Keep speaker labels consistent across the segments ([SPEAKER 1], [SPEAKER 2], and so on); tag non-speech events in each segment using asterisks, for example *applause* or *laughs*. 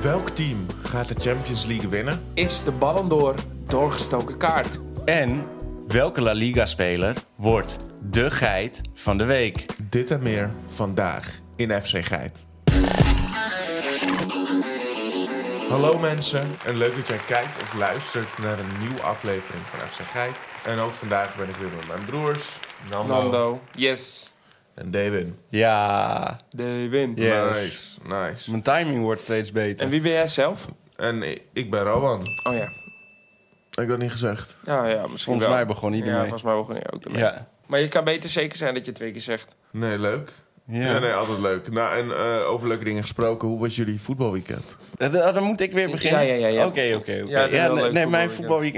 [SPEAKER 1] Welk team gaat de Champions League winnen?
[SPEAKER 2] Is de Ballon d'Or doorgestoken kaart?
[SPEAKER 3] En welke La Liga-speler wordt de geit van de week?
[SPEAKER 1] Dit en meer vandaag in FC Geit. Hallo mensen en leuk dat jij kijkt of luistert naar een nieuwe aflevering van FC Geit. En ook vandaag ben ik weer met mijn broers, Nando,
[SPEAKER 2] Nando. Yes.
[SPEAKER 1] en Devin.
[SPEAKER 3] Ja,
[SPEAKER 2] De win.
[SPEAKER 3] yes.
[SPEAKER 1] Nice, nice.
[SPEAKER 3] Mijn timing wordt steeds beter.
[SPEAKER 2] En wie ben jij zelf?
[SPEAKER 1] En i- ik ben Rowan.
[SPEAKER 2] Oh ja.
[SPEAKER 1] Heb ik dat niet gezegd?
[SPEAKER 2] Ja, ja misschien
[SPEAKER 3] Volgens
[SPEAKER 2] wel.
[SPEAKER 3] mij begon
[SPEAKER 2] ja,
[SPEAKER 3] iedereen.
[SPEAKER 2] volgens mij begon je ook ermee.
[SPEAKER 3] Ja.
[SPEAKER 2] Maar je kan beter zeker zijn dat je het twee keer zegt.
[SPEAKER 1] Nee, leuk. Ja,
[SPEAKER 3] Ja.
[SPEAKER 1] nee, altijd leuk. Nou, en eh, over leuke dingen gesproken, hoe was jullie voetbalweekend?
[SPEAKER 3] Eh, Dan dan moet ik weer beginnen.
[SPEAKER 2] Ja, ja, ja, ja.
[SPEAKER 3] Oké, oké, oké.
[SPEAKER 2] Ja, het is
[SPEAKER 3] Ja,
[SPEAKER 2] wel
[SPEAKER 3] nee,
[SPEAKER 2] leuk
[SPEAKER 3] nee, mijn
[SPEAKER 2] voetbalweekend.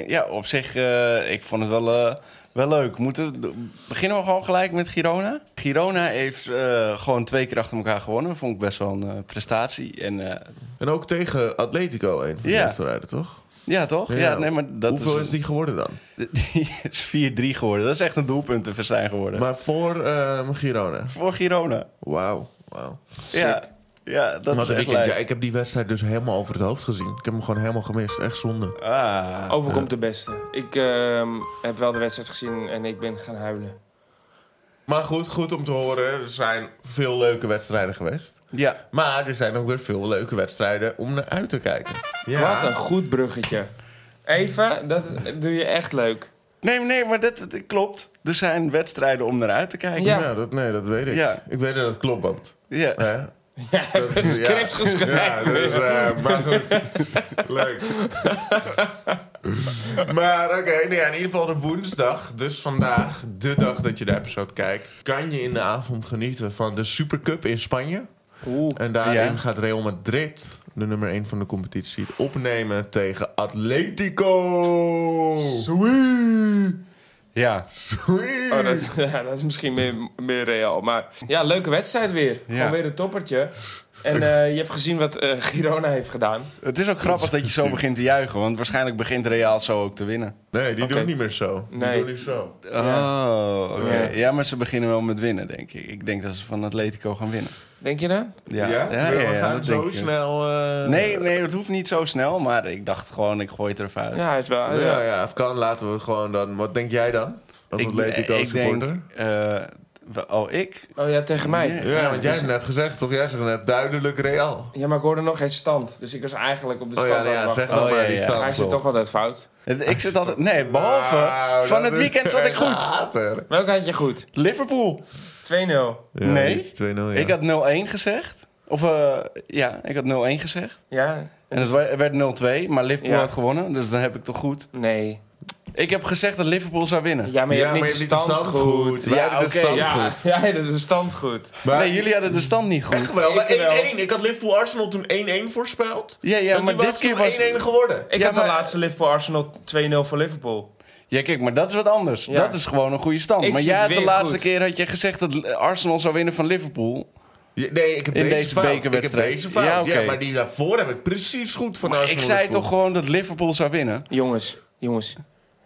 [SPEAKER 3] voetbalweekend. Ja, op zich, eh, ik vond het wel, eh, wel leuk. Moeten, beginnen we gewoon gelijk met Girona? Girona heeft eh, gewoon twee keer achter elkaar gewonnen. Vond ik best wel een eh, prestatie. En eh,
[SPEAKER 1] En ook tegen Atletico, een van de
[SPEAKER 3] Ja.
[SPEAKER 1] wedstrijden, toch?
[SPEAKER 3] ja, toch? Ja, nee, maar dat
[SPEAKER 1] Hoeveel is,
[SPEAKER 3] is,
[SPEAKER 1] die geworden dan?
[SPEAKER 3] *laughs* Die is 4-3 geworden. Dat is echt een doelpuntenfestijn geworden.
[SPEAKER 1] Maar voor ehm, Girona.
[SPEAKER 3] Voor Girona.
[SPEAKER 1] Wauw, wauw.
[SPEAKER 3] Ja, ja, dat
[SPEAKER 1] Wat
[SPEAKER 3] is
[SPEAKER 1] een
[SPEAKER 3] echt
[SPEAKER 1] weekend. Ja,
[SPEAKER 3] leuk.
[SPEAKER 1] ik heb die wedstrijd dus helemaal over het hoofd gezien. Ik heb hem gewoon helemaal gemist. Echt zonde.
[SPEAKER 3] Ah.
[SPEAKER 2] Overkomt de beste. Ik ehm, heb wel de wedstrijd gezien en ik ben gaan huilen.
[SPEAKER 1] Maar goed, goed om te horen. Er zijn veel leuke wedstrijden geweest.
[SPEAKER 3] Ja,
[SPEAKER 1] Maar er zijn ook weer veel leuke wedstrijden om naar uit te kijken.
[SPEAKER 2] Wat een goed bruggetje. Even, dat doe je echt leuk. *laughs*
[SPEAKER 3] nee, nee, maar dat, dat klopt. Er zijn wedstrijden om naar uit te kijken.
[SPEAKER 2] Ja.
[SPEAKER 1] Ja, dat, nee, dat weet ik.
[SPEAKER 3] Ja.
[SPEAKER 1] Ik weet dat het klopt, want...
[SPEAKER 3] Ja.
[SPEAKER 1] Hè?
[SPEAKER 2] Ja, je hebt het script geschreven.
[SPEAKER 1] Ja, dus, eh, maar goed. Leuk. maar oké, nou ja, in ieder geval de woensdag, dus vandaag, de dag dat je de episode kijkt, kan je in de avond genieten van de Supercup in Spanje.
[SPEAKER 2] Oeh.
[SPEAKER 1] En daarin
[SPEAKER 3] Ja.
[SPEAKER 1] gaat Real Madrid, de nummer 1 van de competitie, het opnemen tegen Atletico. Sweet.
[SPEAKER 3] Ja.
[SPEAKER 1] Sweet.
[SPEAKER 2] Oh, dat, *laughs* ja, dat is misschien meer, meer real. Maar ja, leuke wedstrijd weer.
[SPEAKER 3] Ja.
[SPEAKER 2] Gewoon weer een toppertje. En eh, je hebt gezien wat eh, Girona heeft gedaan.
[SPEAKER 3] Het is ook grappig dat je zo begint te juichen, want waarschijnlijk begint Real zo ook te winnen.
[SPEAKER 1] Nee, die
[SPEAKER 2] Oké.
[SPEAKER 1] doen niet meer zo. Die
[SPEAKER 2] Nee.
[SPEAKER 1] doen nu zo.
[SPEAKER 3] Oh, oké.
[SPEAKER 2] Ja.
[SPEAKER 3] Ja. maar ze beginnen wel met winnen, denk ik. Ik denk dat ze van Atletico gaan winnen.
[SPEAKER 2] Denk je dat?
[SPEAKER 3] Ja,
[SPEAKER 1] We gaan zo
[SPEAKER 3] denk ik.
[SPEAKER 1] snel... eh,
[SPEAKER 3] Nee, nee, dat hoeft niet zo snel, maar ik dacht gewoon, ik gooi het er even uit.
[SPEAKER 2] Ja, hij is wel.
[SPEAKER 3] Oh,
[SPEAKER 2] hij is
[SPEAKER 1] Ja,
[SPEAKER 2] wel-
[SPEAKER 1] ja, het kan. Laten we gewoon dan. Wat denk jij dan? Als Atletico
[SPEAKER 3] ik denk,
[SPEAKER 1] supporter?
[SPEAKER 3] eh, we- oh, ik?
[SPEAKER 2] Oh ja, tegen mij.
[SPEAKER 3] Nee.
[SPEAKER 1] Ja, want jij hebt net gezegd, toch? Jij zegt net duidelijk Real.
[SPEAKER 2] Ja, maar ik hoorde nog geen stand. Dus ik was eigenlijk op de
[SPEAKER 1] Oh
[SPEAKER 2] stand.
[SPEAKER 1] ja, nou
[SPEAKER 2] aan
[SPEAKER 1] ja
[SPEAKER 2] het wachten.
[SPEAKER 1] zeg dan
[SPEAKER 3] Oh,
[SPEAKER 1] maar
[SPEAKER 3] ja,
[SPEAKER 1] die
[SPEAKER 3] ja.
[SPEAKER 1] stand.
[SPEAKER 2] Hij zit toch altijd fout.
[SPEAKER 3] Ik zit altijd... Nee, behalve
[SPEAKER 1] Nou,
[SPEAKER 3] van
[SPEAKER 1] dat
[SPEAKER 3] het
[SPEAKER 1] is *laughs*
[SPEAKER 3] weekend zat ik
[SPEAKER 1] echt
[SPEAKER 3] goed.
[SPEAKER 1] later.
[SPEAKER 2] Welke had je goed? 2-0.
[SPEAKER 3] Liverpool.
[SPEAKER 1] Ja,
[SPEAKER 3] Nee.
[SPEAKER 1] dit is 2-0, ja.
[SPEAKER 3] Ik had 0-1 gezegd. Of eh, ja, ik had 0-1 gezegd.
[SPEAKER 2] Ja?
[SPEAKER 3] En het wa- werd 0-2, maar Liverpool
[SPEAKER 2] Ja.
[SPEAKER 3] had gewonnen. Dus dan heb ik toch goed.
[SPEAKER 2] Nee.
[SPEAKER 3] Ik heb gezegd dat Liverpool zou winnen.
[SPEAKER 2] Ja, maar je
[SPEAKER 1] Ja,
[SPEAKER 2] hebt niet de stand, goed.
[SPEAKER 1] Wij
[SPEAKER 3] Ja,
[SPEAKER 1] hadden de
[SPEAKER 3] oké,
[SPEAKER 1] stand
[SPEAKER 2] Ja,
[SPEAKER 1] goed.
[SPEAKER 2] *laughs* ja, dat is de stand goed.
[SPEAKER 1] Maar-
[SPEAKER 3] Nee, jullie hadden de stand niet goed.
[SPEAKER 1] Echt wel, maar
[SPEAKER 2] Ik wel.
[SPEAKER 1] 1-1. Ik had Liverpool-Arsenal toen 1-1 voorspeld.
[SPEAKER 3] Ja, ja,
[SPEAKER 1] En
[SPEAKER 3] maar
[SPEAKER 1] nu
[SPEAKER 3] dit
[SPEAKER 1] het
[SPEAKER 3] keer
[SPEAKER 1] toen
[SPEAKER 3] was...
[SPEAKER 1] 1-1 geworden.
[SPEAKER 2] Ik
[SPEAKER 3] Ja,
[SPEAKER 2] had de
[SPEAKER 3] maar-
[SPEAKER 2] laatste Liverpool-Arsenal 2-0 voor Liverpool.
[SPEAKER 3] Ja, kijk, maar dat is wat anders.
[SPEAKER 2] Ja.
[SPEAKER 3] Dat is gewoon een goede stand.
[SPEAKER 2] Ik
[SPEAKER 3] maar
[SPEAKER 2] zit
[SPEAKER 3] jij had de
[SPEAKER 2] weer
[SPEAKER 3] laatste
[SPEAKER 2] goed.
[SPEAKER 3] keer had je gezegd dat Arsenal zou winnen van Liverpool.
[SPEAKER 1] Ja, Nee, ik heb
[SPEAKER 3] In
[SPEAKER 1] deze,
[SPEAKER 3] deze
[SPEAKER 1] fout.
[SPEAKER 3] bekerwedstrijd.
[SPEAKER 1] Ik heb deze fout.
[SPEAKER 3] Ja,
[SPEAKER 1] Ja,
[SPEAKER 3] oké.
[SPEAKER 1] maar die daarvoor heb ik precies goed van
[SPEAKER 3] Maar ik
[SPEAKER 1] Arsenal
[SPEAKER 3] zei
[SPEAKER 1] gevoeld.
[SPEAKER 3] toch gewoon dat Liverpool zou winnen.
[SPEAKER 2] Jongens, jongens.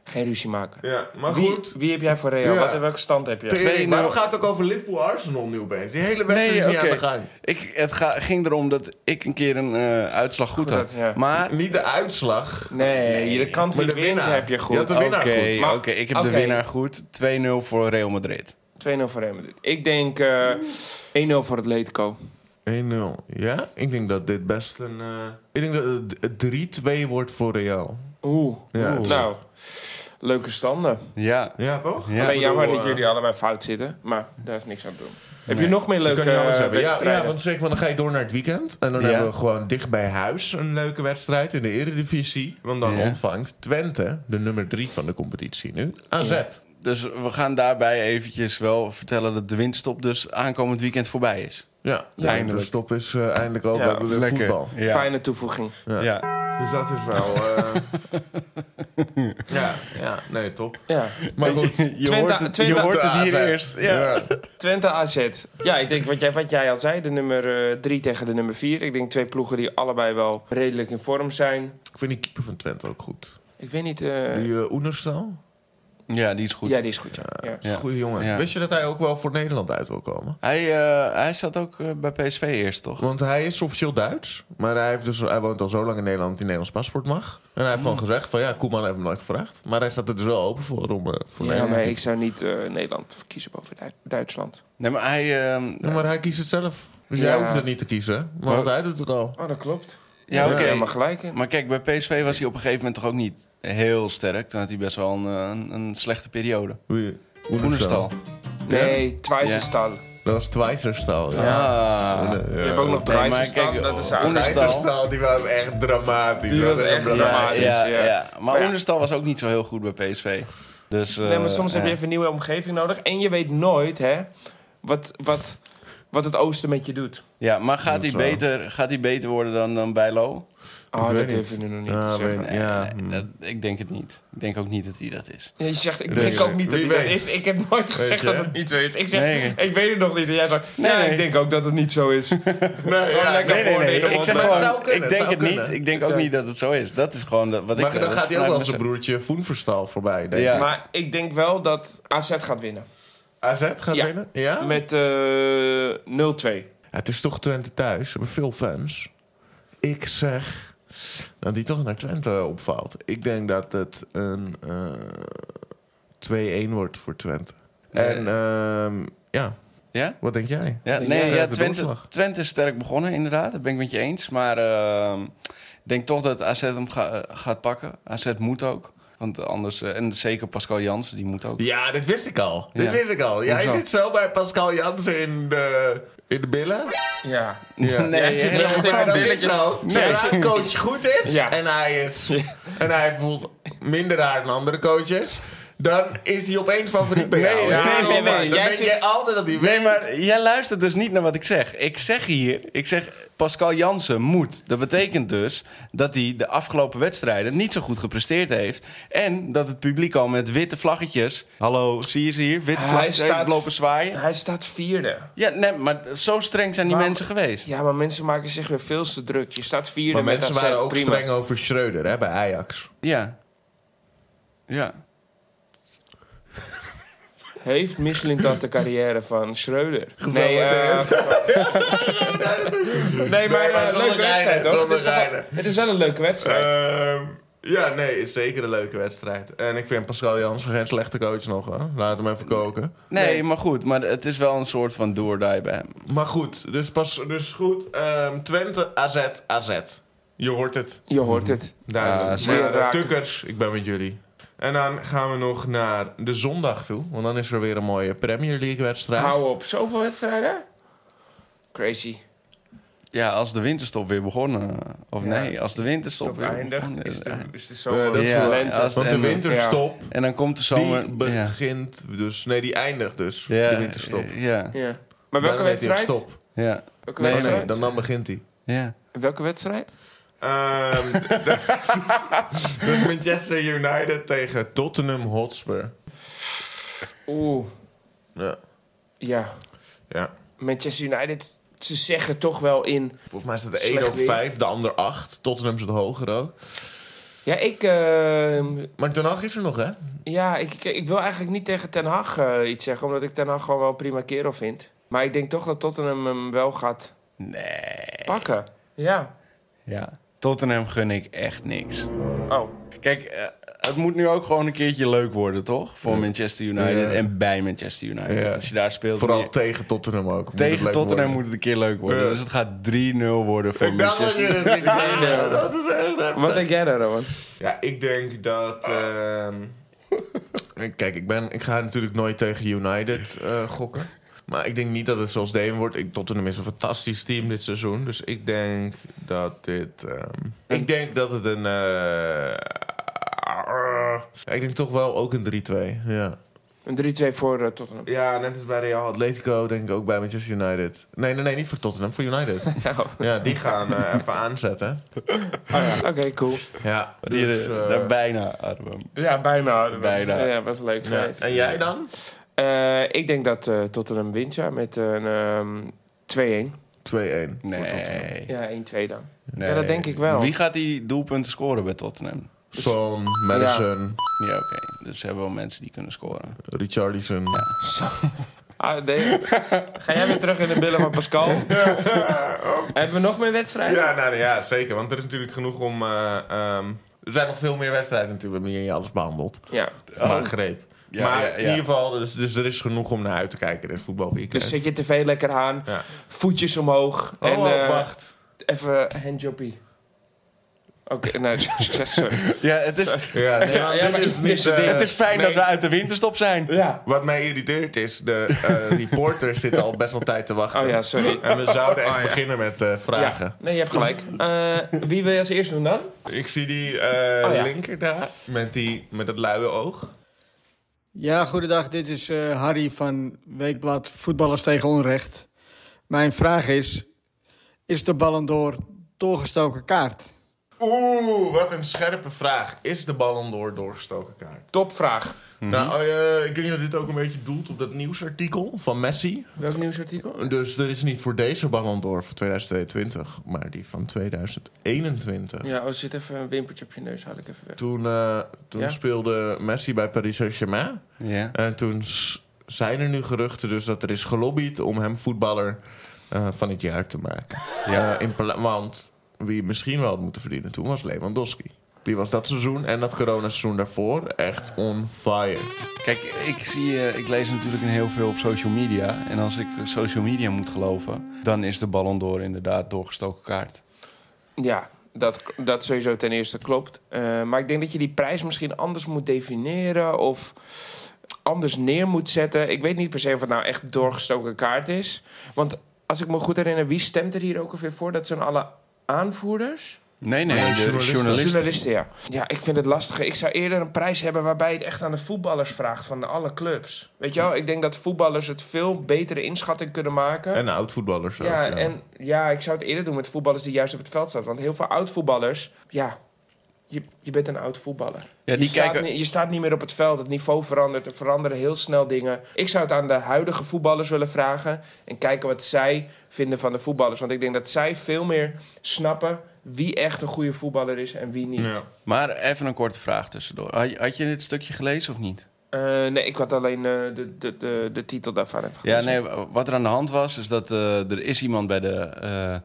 [SPEAKER 2] Geen ruzie maken.
[SPEAKER 1] Ja, maar
[SPEAKER 2] Wie,
[SPEAKER 1] goed.
[SPEAKER 2] wie heb jij voor Real?
[SPEAKER 1] Ja. nou,
[SPEAKER 2] Wat, welke stand heb je?
[SPEAKER 3] Twee-
[SPEAKER 1] Tering,
[SPEAKER 3] 2-0.
[SPEAKER 1] Waarom gaat het ook over Liverpool-Arsenal nu opeens? Die hele wedstrijd
[SPEAKER 3] Nee,
[SPEAKER 1] is niet
[SPEAKER 3] oké.
[SPEAKER 1] aan de gang.
[SPEAKER 3] Ik, het ga- ging erom dat ik een keer een eh, uitslag goed,
[SPEAKER 2] Goed
[SPEAKER 3] had.
[SPEAKER 2] had, ja.
[SPEAKER 3] Maar
[SPEAKER 1] Niet de uitslag.
[SPEAKER 2] Nee, de kant
[SPEAKER 1] Maar
[SPEAKER 2] wie
[SPEAKER 1] de
[SPEAKER 2] wint
[SPEAKER 1] winnaar.
[SPEAKER 2] heb je
[SPEAKER 1] Je had
[SPEAKER 2] goed. Oh,
[SPEAKER 1] de winnaar
[SPEAKER 3] Oké,
[SPEAKER 1] goed.
[SPEAKER 2] Maar-
[SPEAKER 3] oké, ik heb
[SPEAKER 2] oké.
[SPEAKER 3] de winnaar goed. 2-0 voor Real Madrid.
[SPEAKER 2] 2-0 voor Real Madrid. Ik denk eh 1-0 voor Atletico.
[SPEAKER 1] 1-0. Ja? Ik denk dat dit best een... eh, Ik denk dat het 3-2 wordt voor Real.
[SPEAKER 2] Oeh.
[SPEAKER 1] Ja,
[SPEAKER 3] Oeh.
[SPEAKER 2] Nou, leuke standen.
[SPEAKER 3] Ja.
[SPEAKER 1] Ja, toch?
[SPEAKER 3] Ja.
[SPEAKER 2] Alleen
[SPEAKER 1] Ik bedoel,
[SPEAKER 2] jammer dat
[SPEAKER 1] eh,
[SPEAKER 2] jullie allebei fout zitten. Maar daar is niks aan te doen. Heb je nog meer
[SPEAKER 1] dan
[SPEAKER 2] leuke
[SPEAKER 1] kan je alles
[SPEAKER 2] eh,
[SPEAKER 1] hebben. Ja,
[SPEAKER 2] wedstrijden?
[SPEAKER 1] ja, want zeg maar, dan ga je door naar het weekend. En dan
[SPEAKER 3] Ja.
[SPEAKER 1] hebben we gewoon dicht bij huis een leuke wedstrijd in de Eredivisie. Want dan
[SPEAKER 3] Ja.
[SPEAKER 1] ontvangt Twente, de nummer 3 van de competitie nu, AZ.
[SPEAKER 3] Dus we gaan daarbij eventjes wel vertellen dat de winterstop dus aankomend weekend voorbij is.
[SPEAKER 1] Ja,
[SPEAKER 2] Ja.
[SPEAKER 1] eindelijk. De stop is eh, eindelijk ook
[SPEAKER 2] Ja,
[SPEAKER 1] hebben we weer voetbal.
[SPEAKER 3] Ja.
[SPEAKER 2] Fijne toevoeging.
[SPEAKER 3] Ja. Ja.
[SPEAKER 1] Dus dat is wel... eh, *laughs* ja, ja, nee, top.
[SPEAKER 2] Ja.
[SPEAKER 1] Maar goed,
[SPEAKER 3] Je,
[SPEAKER 2] Twente-
[SPEAKER 3] hoort het, *laughs* je
[SPEAKER 2] Twente-
[SPEAKER 3] hoort het hier
[SPEAKER 1] AZ.
[SPEAKER 3] eerst. Ja.
[SPEAKER 2] Twente AZ. Ja, ik denk wat jij, wat jij al zei. De nummer 3 tegen de nummer 4. Ik denk twee ploegen die allebei wel redelijk in vorm zijn.
[SPEAKER 1] Ik vind die keeper van Twente ook goed.
[SPEAKER 2] Ik weet niet... eh,
[SPEAKER 1] Die eh Oenerstal?
[SPEAKER 3] Ja, die is goed.
[SPEAKER 2] Ja, die is goed. Ja. Ja.
[SPEAKER 1] Dat is een goede jongen.
[SPEAKER 3] Ja.
[SPEAKER 1] Wist je dat hij ook wel voor Nederland uit wil komen?
[SPEAKER 3] Hij, eh, hij zat ook eh, bij PSV eerst, toch?
[SPEAKER 1] Want hij is officieel Duits, maar hij, heeft dus, hij woont al zo lang in Nederland dat hij Nederlands paspoort mag. En hij heeft gewoon
[SPEAKER 3] Hmm.
[SPEAKER 1] gezegd van ja, Koeman heeft hem nooit gevraagd. Maar hij staat er dus wel open voor om eh, voor
[SPEAKER 2] Ja,
[SPEAKER 1] Nederland
[SPEAKER 2] maar
[SPEAKER 1] te
[SPEAKER 2] ik zou niet eh, Nederland verkiezen boven Du- Duitsland.
[SPEAKER 3] Nee, maar hij... ehm,
[SPEAKER 1] Ja, maar hij kiest het zelf. Dus
[SPEAKER 2] Ja.
[SPEAKER 1] jij hoeft het niet te kiezen, want hij doet het al.
[SPEAKER 2] Oh, dat klopt.
[SPEAKER 3] ja, oké.
[SPEAKER 2] maar gelijk. in.
[SPEAKER 3] Maar kijk, bij PSV was hij op een gegeven moment toch ook niet heel sterk. Toen had hij best wel een, eh, een, een slechte periode.
[SPEAKER 1] Wie-
[SPEAKER 3] Oenestal.
[SPEAKER 2] Nee, Twice
[SPEAKER 3] Ja.
[SPEAKER 2] is stal.
[SPEAKER 1] Dat was Twijzerstal. Ja.
[SPEAKER 3] Ah.
[SPEAKER 1] eh,
[SPEAKER 3] Ja.
[SPEAKER 1] Ja.
[SPEAKER 2] Je hebt ook nog
[SPEAKER 3] Nee, maar
[SPEAKER 2] Twice stal.
[SPEAKER 3] kijk,
[SPEAKER 2] Dat
[SPEAKER 1] eh,
[SPEAKER 2] is
[SPEAKER 3] Oenestal-
[SPEAKER 2] eigenlijk-
[SPEAKER 1] Twijzerstal, die was echt dramatisch.
[SPEAKER 2] Die was echt
[SPEAKER 3] Ja,
[SPEAKER 2] dramatisch,
[SPEAKER 3] ja,
[SPEAKER 2] ja.
[SPEAKER 3] ja. Maar
[SPEAKER 2] Maar ja.
[SPEAKER 3] Oenestal was ook niet zo heel goed bij PSV. Dus, eh,
[SPEAKER 2] Nee, maar soms heb
[SPEAKER 3] ja.
[SPEAKER 2] je even een nieuwe omgeving nodig. En je weet nooit, hè, wat, wat, wat het oosten met je doet.
[SPEAKER 3] Ja, maar gaat hij
[SPEAKER 1] Zo.
[SPEAKER 3] beter, gaat hij beter worden dan, dan Bijlo?
[SPEAKER 2] Oh,
[SPEAKER 1] weet
[SPEAKER 2] dat
[SPEAKER 1] niet.
[SPEAKER 2] durf ik nu nog niet
[SPEAKER 1] Ja,
[SPEAKER 2] te
[SPEAKER 1] weet
[SPEAKER 2] zeggen.
[SPEAKER 1] niet. Ah, Ja.
[SPEAKER 3] Nee, dat, ik denk het niet. Ik denk ook niet dat hij dat is.
[SPEAKER 2] Ja, Je zegt, ik
[SPEAKER 1] Weet
[SPEAKER 2] denk
[SPEAKER 1] je.
[SPEAKER 2] ook niet dat
[SPEAKER 1] Wie
[SPEAKER 2] het dat
[SPEAKER 1] weet.
[SPEAKER 2] is. Ik heb nooit gezegd
[SPEAKER 1] je,
[SPEAKER 2] dat
[SPEAKER 1] hè?
[SPEAKER 2] het niet zo is. Ik zeg,
[SPEAKER 3] Nee.
[SPEAKER 2] ik weet het nog niet. En jij zegt, nee,
[SPEAKER 3] nee.
[SPEAKER 2] ik denk ook dat het niet zo is.
[SPEAKER 1] Nee, ja,
[SPEAKER 2] lekker
[SPEAKER 1] nee, nee, nee.
[SPEAKER 2] oordelen,
[SPEAKER 3] Ik
[SPEAKER 2] want
[SPEAKER 3] zeg
[SPEAKER 2] het
[SPEAKER 3] gewoon,
[SPEAKER 1] zou kunnen,
[SPEAKER 3] ik
[SPEAKER 1] het
[SPEAKER 3] denk
[SPEAKER 1] zou
[SPEAKER 3] het
[SPEAKER 1] kunnen.
[SPEAKER 3] niet. Ik denk ook
[SPEAKER 2] Ja.
[SPEAKER 3] niet dat het zo is. Dat is gewoon dat- wat ik...
[SPEAKER 1] Maar dan
[SPEAKER 3] eh,
[SPEAKER 1] gaat hij ook
[SPEAKER 3] vanuit
[SPEAKER 1] wel
[SPEAKER 3] mijn-
[SPEAKER 1] zijn broertje Voenverstal voorbij. Denk
[SPEAKER 3] Ja.
[SPEAKER 1] ik.
[SPEAKER 2] Maar ik denk wel dat AZ gaat winnen.
[SPEAKER 1] AZ gaat
[SPEAKER 2] Ja.
[SPEAKER 1] winnen? Ja?
[SPEAKER 2] Met eh 0-2.
[SPEAKER 1] Ja, Het is toch Twente thuis. Ze hebben veel fans. Ik zeg dat die toch naar Twente opvalt. Ik denk dat het een eh 2-1 wordt voor Twente.
[SPEAKER 3] Nee.
[SPEAKER 1] En ehm, ja,
[SPEAKER 3] Ja?
[SPEAKER 1] wat denk jij?
[SPEAKER 3] Ja,
[SPEAKER 2] Ja,
[SPEAKER 3] nee,
[SPEAKER 1] ja,
[SPEAKER 3] ja,
[SPEAKER 1] de
[SPEAKER 3] Twente,
[SPEAKER 1] doorslag.
[SPEAKER 3] Twente is sterk begonnen, inderdaad. Dat ben ik met je eens. Maar ehm, ik denk toch dat AZ hem ga- eh, gaat pakken. AZ moet ook. Want anders, eh, en zeker Pascal Jansen, die moet ook.
[SPEAKER 1] Ja, dit wist ik al.
[SPEAKER 3] Ja.
[SPEAKER 1] Dit wist ik al. Jij
[SPEAKER 3] Hoezo?
[SPEAKER 1] zit zo bij Pascal Jansen in de, in de billen.
[SPEAKER 2] Ja.
[SPEAKER 1] Ja.
[SPEAKER 3] Nee,
[SPEAKER 2] Jij zit
[SPEAKER 3] hè?
[SPEAKER 2] echt in
[SPEAKER 1] Maar
[SPEAKER 2] mijn
[SPEAKER 1] dat is
[SPEAKER 2] billetjes.
[SPEAKER 1] zo. Zodra een coach goed is
[SPEAKER 2] Ja.
[SPEAKER 1] en, hij is en hij voelt minder raar dan andere coaches... dan is hij opeens favoriet bij jou.
[SPEAKER 2] nee,
[SPEAKER 1] Ja,
[SPEAKER 2] nee, nee,
[SPEAKER 1] maar
[SPEAKER 2] nee.
[SPEAKER 1] Dan
[SPEAKER 2] Jij
[SPEAKER 1] denk
[SPEAKER 2] zit-
[SPEAKER 1] jij altijd dat hij
[SPEAKER 3] Nee,
[SPEAKER 1] wint.
[SPEAKER 3] maar jij luistert dus niet naar wat ik zeg. Ik zeg hier, ik zeg Pascal Jansen moet. Dat betekent dus dat hij de afgelopen wedstrijden niet zo goed gepresteerd heeft. En dat het publiek al met witte vlaggetjes... Hallo, zie je ze hier? Witte
[SPEAKER 2] Hij
[SPEAKER 3] vlaggetjes
[SPEAKER 2] staat-
[SPEAKER 3] lopen zwaaien.
[SPEAKER 2] Hij staat vierde.
[SPEAKER 3] Ja, nee, maar zo streng zijn die
[SPEAKER 2] Maar-
[SPEAKER 3] mensen geweest.
[SPEAKER 2] Ja, maar mensen maken zich weer veel te druk. Je staat vierde
[SPEAKER 1] Maar
[SPEAKER 2] met
[SPEAKER 1] mensen
[SPEAKER 2] AZ,
[SPEAKER 1] waren ook
[SPEAKER 2] prima.
[SPEAKER 1] streng over Schreuder hè, bij Ajax.
[SPEAKER 3] Ja. Ja.
[SPEAKER 2] Heeft Michelin de carrière van Schreuder? *laughs* Nee,
[SPEAKER 1] Gefeliciteerd.
[SPEAKER 2] eh, nee, maar
[SPEAKER 1] maar
[SPEAKER 2] eh,
[SPEAKER 1] zonder
[SPEAKER 2] leuke wedstrijd,
[SPEAKER 1] rijden,
[SPEAKER 2] toch?
[SPEAKER 1] zonder
[SPEAKER 2] Het is, toch wel,
[SPEAKER 1] rijden.
[SPEAKER 2] het is wel een leuke wedstrijd.
[SPEAKER 1] Ehm, ja, nee, is zeker een leuke wedstrijd. En ik vind Pascal Jansen geen slechte coach nog. Hoor. Laat hem even koken.
[SPEAKER 3] Nee,
[SPEAKER 2] Nee.
[SPEAKER 3] maar goed. Maar het is wel een soort van do or die bij hem.
[SPEAKER 1] Maar goed, dus, pas, dus goed. ehm, Twente, AZ, AZ. Je hoort het.
[SPEAKER 2] Je hoort het.
[SPEAKER 1] Duidelijk.
[SPEAKER 3] Ah,
[SPEAKER 1] Maar,
[SPEAKER 2] zeer
[SPEAKER 1] eh,
[SPEAKER 2] raak.
[SPEAKER 1] tukkers, ik ben met jullie. En dan gaan we nog naar de zondag toe. Want dan is er weer een mooie Premier League wedstrijd.
[SPEAKER 2] Hou op. Zoveel wedstrijden? Crazy.
[SPEAKER 3] Ja, als de winterstop weer begonnen. Of
[SPEAKER 2] Ja.
[SPEAKER 3] nee, als de winterstop
[SPEAKER 2] Op
[SPEAKER 3] weer
[SPEAKER 2] eindigt.
[SPEAKER 3] begonnen
[SPEAKER 2] Is de, is de
[SPEAKER 1] Eh,
[SPEAKER 2] zomer.
[SPEAKER 1] dat is
[SPEAKER 3] Ja,
[SPEAKER 1] voor-
[SPEAKER 3] lente. als
[SPEAKER 1] Want de
[SPEAKER 3] en-
[SPEAKER 2] eh,
[SPEAKER 1] winterstop,
[SPEAKER 3] En dan komt de zomer...
[SPEAKER 1] die
[SPEAKER 3] ja.
[SPEAKER 1] begint dus... Nee, die eindigt dus.
[SPEAKER 3] Ja,
[SPEAKER 1] De winterstop.
[SPEAKER 3] Ja,
[SPEAKER 2] Ja. Maar
[SPEAKER 1] Dan
[SPEAKER 2] eh, welke
[SPEAKER 1] heet die ook
[SPEAKER 2] wedstrijd?
[SPEAKER 1] Stop.
[SPEAKER 3] ja,
[SPEAKER 2] Welke
[SPEAKER 3] Nee,
[SPEAKER 1] Oh, nee,
[SPEAKER 2] wedstrijd?
[SPEAKER 1] dan, dan begint die.
[SPEAKER 3] ja.
[SPEAKER 2] Welke wedstrijd?
[SPEAKER 1] Ehm, *laughs* dat is Manchester United tegen Tottenham Hotspur.
[SPEAKER 2] Oeh,
[SPEAKER 1] Ja.
[SPEAKER 2] ja.
[SPEAKER 1] ja.
[SPEAKER 2] Manchester United, ze zeggen toch wel in...
[SPEAKER 1] Volgens mij staat de
[SPEAKER 2] Slecht
[SPEAKER 1] ene op
[SPEAKER 2] weer.
[SPEAKER 1] 5, de ander 8. Tottenham zit hoger ook.
[SPEAKER 2] Ja, ik, ehm,
[SPEAKER 1] Maar Ten Hag is er nog, hè?
[SPEAKER 2] ja, ik, ik, ik wil eigenlijk niet tegen Ten Hag eh, iets zeggen... omdat ik Ten Hag gewoon wel een prima kerel vind. Maar ik denk toch dat Tottenham hem wel gaat
[SPEAKER 3] Nee.
[SPEAKER 2] pakken. Ja.
[SPEAKER 3] Ja. Tottenham gun ik echt niks.
[SPEAKER 2] Oh,
[SPEAKER 3] Kijk, eh, het moet nu ook gewoon een keertje leuk worden, toch? Voor Manchester United
[SPEAKER 1] Ja.
[SPEAKER 3] en bij Manchester United.
[SPEAKER 1] Ja.
[SPEAKER 3] Als je daar speelt...
[SPEAKER 1] Vooral
[SPEAKER 3] moet je-
[SPEAKER 1] tegen Tottenham ook. Moet het
[SPEAKER 3] tegen
[SPEAKER 1] leuk
[SPEAKER 3] Tottenham
[SPEAKER 1] worden.
[SPEAKER 3] moet het een keer leuk worden.
[SPEAKER 1] Ja.
[SPEAKER 3] Dus het gaat 3-0 worden voor
[SPEAKER 1] Ik dacht dat
[SPEAKER 3] Manchester
[SPEAKER 1] je het ging zeggen. *laughs* Dat is echt
[SPEAKER 2] wat
[SPEAKER 1] heftig.
[SPEAKER 2] denk jij daar, Rowan?
[SPEAKER 1] eh, Ja, ik denk dat... ehm, Kijk, ik, ben, ik ga natuurlijk nooit tegen United eh, gokken. Maar ik denk niet dat het zoals Deen wordt. Ik, Tottenham is een fantastisch team dit seizoen. Dus ik denk dat dit... ehm, ik denk dat het een... eh, ik denk toch wel ook een 3-2. Ja.
[SPEAKER 2] Een 3-2 voor eh, Tottenham.
[SPEAKER 1] ja, net als bij Real Atletico denk ik ook bij Manchester United. Nee, nee, nee, niet voor Tottenham, voor United.
[SPEAKER 2] Nou,
[SPEAKER 1] ja, die gaan eh, even aanzetten.
[SPEAKER 2] Oké, cool.
[SPEAKER 1] Ja,
[SPEAKER 3] Hier,
[SPEAKER 1] dus, eh,
[SPEAKER 3] daar bijna, Arwen.
[SPEAKER 2] Ja, bijna.
[SPEAKER 3] Bijna.
[SPEAKER 2] Ja, was leuk
[SPEAKER 1] ja.
[SPEAKER 2] geweest.
[SPEAKER 1] En jij dan?
[SPEAKER 2] Eh, ik denk dat eh, Tottenham wint, ja, met een ehm 2-1.
[SPEAKER 1] 2-1.
[SPEAKER 3] Nee.
[SPEAKER 2] Ja, 1-2 dan.
[SPEAKER 3] nee.
[SPEAKER 2] Ja, dat denk ik wel.
[SPEAKER 3] Wie gaat die doelpunten scoren bij Tottenham?
[SPEAKER 1] Son, Madison,
[SPEAKER 3] Ja, oké. Dus ze hebben wel mensen die kunnen scoren.
[SPEAKER 1] Richardson.
[SPEAKER 2] Zo. *laughs* Ah, nee. Ga jij weer terug in de billen van Pascal? Hebben we nog meer wedstrijden?
[SPEAKER 1] Ja, nou, ja, zeker. Want er is natuurlijk genoeg om... eh, ehm, er zijn nog veel meer wedstrijden natuurlijk. We hebben hier niet alles behandeld.
[SPEAKER 2] Ja.
[SPEAKER 1] Maar greep.
[SPEAKER 3] Ja,
[SPEAKER 1] maar
[SPEAKER 3] ja, ja.
[SPEAKER 1] in ieder geval, dus, dus er is genoeg om naar uit te kijken in het voetbalweekend.
[SPEAKER 2] Dus zet je tv lekker aan,
[SPEAKER 1] Ja.
[SPEAKER 2] voetjes omhoog en
[SPEAKER 1] oh,
[SPEAKER 2] eh,
[SPEAKER 1] wacht.
[SPEAKER 2] even handjoppie.
[SPEAKER 1] *laughs*
[SPEAKER 2] Oké, nou, succes. sorry.
[SPEAKER 3] Ja, het is,
[SPEAKER 1] Ja, nee,
[SPEAKER 2] Ja, ja,
[SPEAKER 1] dit
[SPEAKER 2] maar
[SPEAKER 1] is
[SPEAKER 2] ik-
[SPEAKER 1] niet,
[SPEAKER 2] dit-
[SPEAKER 1] eh,
[SPEAKER 2] dit
[SPEAKER 3] *laughs* het is fijn
[SPEAKER 2] nee.
[SPEAKER 3] dat we uit de winterstop zijn.
[SPEAKER 2] Ja.
[SPEAKER 1] Wat mij irriteert is, de
[SPEAKER 2] *laughs*
[SPEAKER 1] eh, reporters zitten al best wel tijd te wachten.
[SPEAKER 2] Oh ja, sorry.
[SPEAKER 1] En we zouden echt
[SPEAKER 2] Oh ja.
[SPEAKER 1] beginnen met eh, vragen.
[SPEAKER 2] Ja. Nee, je hebt gelijk. Eh, wie wil je als eerste doen dan?
[SPEAKER 1] Ik zie die eh,
[SPEAKER 2] Oh ja.
[SPEAKER 1] linker daar, met, die, met dat luie oog.
[SPEAKER 4] Ja, goedendag. Dit is eh, Harry van Weekblad Voetballers tegen Onrecht. Mijn vraag is, is de Ballon d'Or doorgestoken kaart?
[SPEAKER 1] Oeh, wat een scherpe vraag. Is de Ballon d'Or doorgestoken kaart?
[SPEAKER 2] Topvraag.
[SPEAKER 1] Nou, eh, ik denk dat dit ook een beetje doelt op dat nieuwsartikel van Messi.
[SPEAKER 2] Welk nieuwsartikel?
[SPEAKER 1] Dus er is niet voor deze Ballon d'Or van 2022, maar die van 2021.
[SPEAKER 2] Ja, oh, zit even een wimpertje op je neus, haal ik even weg.
[SPEAKER 1] Toen, eh, toen
[SPEAKER 2] Ja.
[SPEAKER 1] speelde Messi bij Paris Saint-Germain.
[SPEAKER 3] Ja.
[SPEAKER 1] En toen s- zijn er nu geruchten dus dat er is gelobbyd om hem voetballer eh, van het jaar te maken.
[SPEAKER 3] Ja.
[SPEAKER 1] Eh, in pla- want wie misschien wel had moeten verdienen toen was Lewandowski. Die was dat seizoen en dat coronaseizoen daarvoor echt on fire.
[SPEAKER 3] Kijk, ik, zie, eh, ik lees natuurlijk een heel veel op social media. En als ik social media moet geloven, dan is de Ballon d'Or inderdaad doorgestoken kaart.
[SPEAKER 2] Ja, dat, dat sowieso ten eerste klopt. Eh, maar ik denk dat je die prijs misschien anders moet definiëren of anders neer moet zetten. Ik weet niet per se of het nou echt doorgestoken kaart is. Want als ik me goed herinner, wie stemt er hier ook alweer voor? Dat zijn alle aanvoerders?
[SPEAKER 3] Nee, nee, de
[SPEAKER 1] journalisten.
[SPEAKER 3] journalisten.
[SPEAKER 2] Journalisten, ja. Ja, ik vind het lastig. Ik zou eerder een prijs hebben waarbij het echt aan de voetballers vraagt van alle clubs. Weet je wel, ik denk dat voetballers het veel betere inschatting kunnen maken.
[SPEAKER 1] En oud-voetballers ook.
[SPEAKER 2] Ja, en ja, ik zou het eerder doen met voetballers die juist op het veld staan. Want heel veel oud-voetballers, ja, je, je bent een oud voetballer.
[SPEAKER 3] Ja, die
[SPEAKER 2] je, staat
[SPEAKER 3] kijken-
[SPEAKER 2] niet- je staat niet meer op het veld, het niveau verandert, er veranderen heel snel dingen. Ik zou het aan de huidige voetballers willen vragen en kijken wat zij vinden van de voetballers. Want ik denk dat zij veel meer snappen wie echt een goede voetballer is en wie niet.
[SPEAKER 1] Ja.
[SPEAKER 3] Maar even een korte vraag tussendoor. Had je, had je dit stukje gelezen of niet?
[SPEAKER 2] Eh, nee, ik had alleen eh, de, de, de, de titel daarvan even
[SPEAKER 3] Ja,
[SPEAKER 2] gelezen.
[SPEAKER 3] nee, wat er aan de hand was, is dat eh, er is iemand bij de, eh,